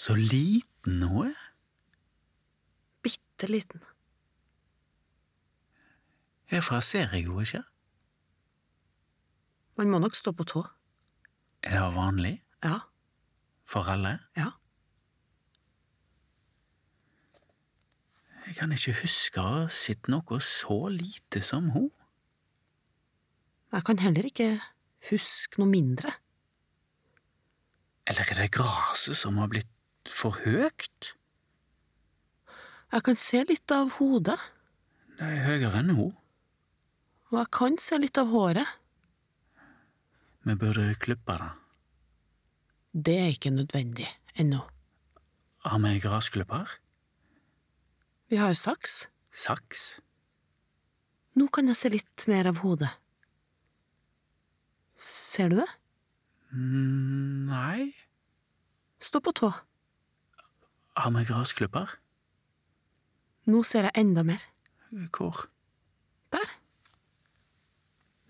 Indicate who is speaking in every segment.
Speaker 1: Så liten hun er.
Speaker 2: Bitte liten.
Speaker 1: Herfra ser jeg henne ikke.
Speaker 2: Man må nok stå på tå.
Speaker 1: Er det vanlig
Speaker 2: Ja.
Speaker 1: for alle?
Speaker 2: Ja.
Speaker 1: Jeg kan ikke huske å ha sett noe så lite som hun.
Speaker 2: Jeg kan heller ikke huske noe mindre.
Speaker 1: Eller er det gresset som har blitt for høyt?
Speaker 2: Jeg kan se litt av hodet,
Speaker 1: Det er høyere enn hun.
Speaker 2: og jeg kan se litt av håret.
Speaker 1: Vi burde klippe det.
Speaker 2: Det er ikke nødvendig ennå.
Speaker 1: Har vi gressklipper?
Speaker 2: Vi har saks.
Speaker 1: Saks?
Speaker 2: Nå kan jeg se litt mer av hodet. Ser du det?
Speaker 1: Mm, nei.
Speaker 2: Stå på tå.
Speaker 1: Har vi gressklipper?
Speaker 2: Nå ser jeg enda mer.
Speaker 1: Hvor?
Speaker 2: Der.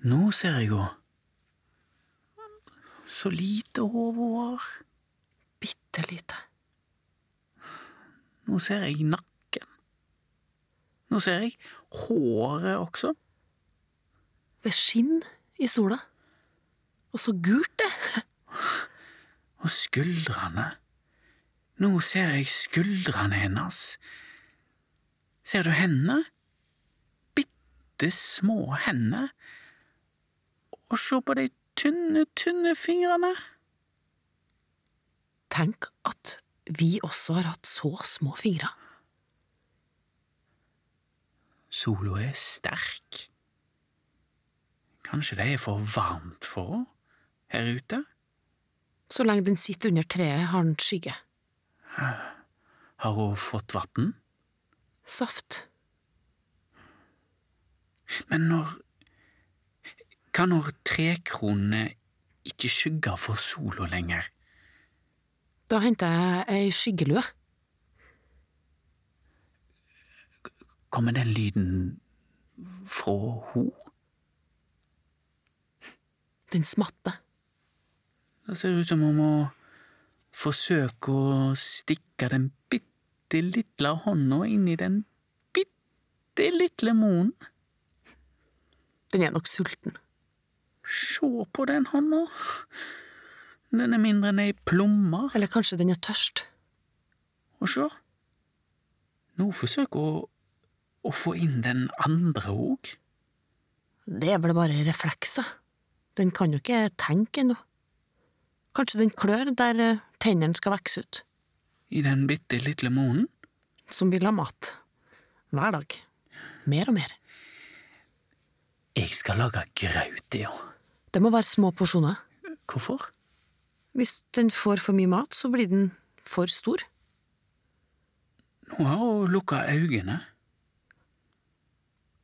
Speaker 1: Nå ser jeg henne. Så lite hode hun har.
Speaker 2: Bitte lite.
Speaker 1: Nå ser jeg nakken. Nå ser jeg håret også.
Speaker 2: Det skinner i sola. Og så gult det!
Speaker 1: Og skuldrene. Nå ser jeg skuldrene hennes. Ser du hendene? Bitte små hender. Og se på de tynne, tynne fingrene.
Speaker 2: Tenk at vi også har hatt så små fingre.
Speaker 1: Sola er sterk. Kanskje det er for varmt for henne her ute?
Speaker 2: Så lenge den sitter under treet, har den skygge.
Speaker 1: Har hun fått vann?
Speaker 2: Saft.
Speaker 1: Men når Kan når trekronene ikke skygge for sola lenger?
Speaker 2: Da henter jeg ei skyggelue.
Speaker 1: Kommer den lyden fra ho?
Speaker 2: Den smatter.
Speaker 1: Det ser ut som hun må forsøke å stikke den bitte lille hånda inn i den bitte lille munnen.
Speaker 2: Den er nok sulten.
Speaker 1: Se på den hånda. Den er mindre enn ei plomme.
Speaker 2: Eller kanskje den er tørst.
Speaker 1: Og se. Nå forsøker hun å få inn den andre òg.
Speaker 2: Det er vel bare reflekser. Den kan jo ikke tenke ennå. Kanskje den klør der eh, tennene skal vokse ut.
Speaker 1: I den bitte lille munnen.
Speaker 2: Som vil ha mat. Hver dag. Mer og mer.
Speaker 1: Jeg skal lage graut i henne.
Speaker 2: Det må være små porsjoner.
Speaker 1: Hvorfor?
Speaker 2: Hvis den får for mye mat, så blir den for stor.
Speaker 1: Nå har hun lukka øynene.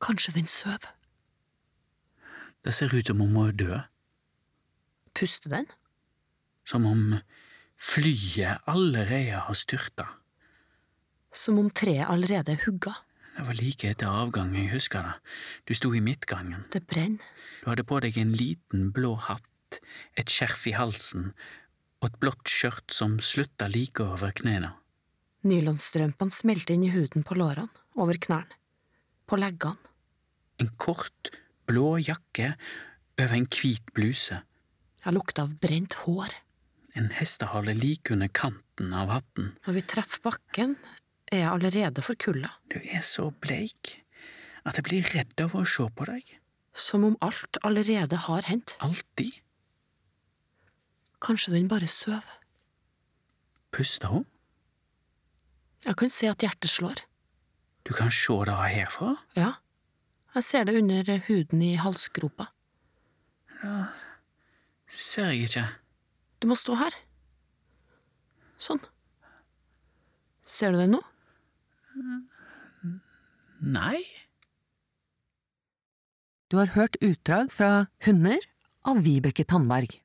Speaker 2: Kanskje den sover.
Speaker 1: Det ser ut som om hun er død.
Speaker 2: Puster den?
Speaker 1: Som om flyet allerede har styrta.
Speaker 2: Som om treet allerede er hugga.
Speaker 1: Det var like etter avgang, jeg husker det. Du sto i midtgangen.
Speaker 2: Det brenner.
Speaker 1: Du hadde på deg en liten blå hatt, et skjerf i halsen og et blått skjørt som slutta like over knærne.
Speaker 2: Nylonstrømpene smelter inn i huden på lårene, over knærne. På leggene.
Speaker 1: En kort, blå jakke over en hvit bluse,
Speaker 2: Jeg lukter av brent hår.
Speaker 1: en hestehale like under kanten av hatten.
Speaker 2: Når vi treffer bakken, er jeg allerede forkulla.
Speaker 1: Du er så bleik at jeg blir redd av å se på deg.
Speaker 2: Som om alt allerede har hendt.
Speaker 1: Alltid.
Speaker 2: Kanskje den bare sover.
Speaker 1: Puster hun?
Speaker 2: Jeg kan se at hjertet slår.
Speaker 1: Du kan se det herfra.
Speaker 2: Ja. Jeg ser det under huden i halsgropa.
Speaker 1: Ser jeg ikke.
Speaker 2: Du må stå her. Sånn. Ser du det nå?
Speaker 1: Nei.
Speaker 3: Du har hørt utdrag fra Hunder av Vibeke Tandberg.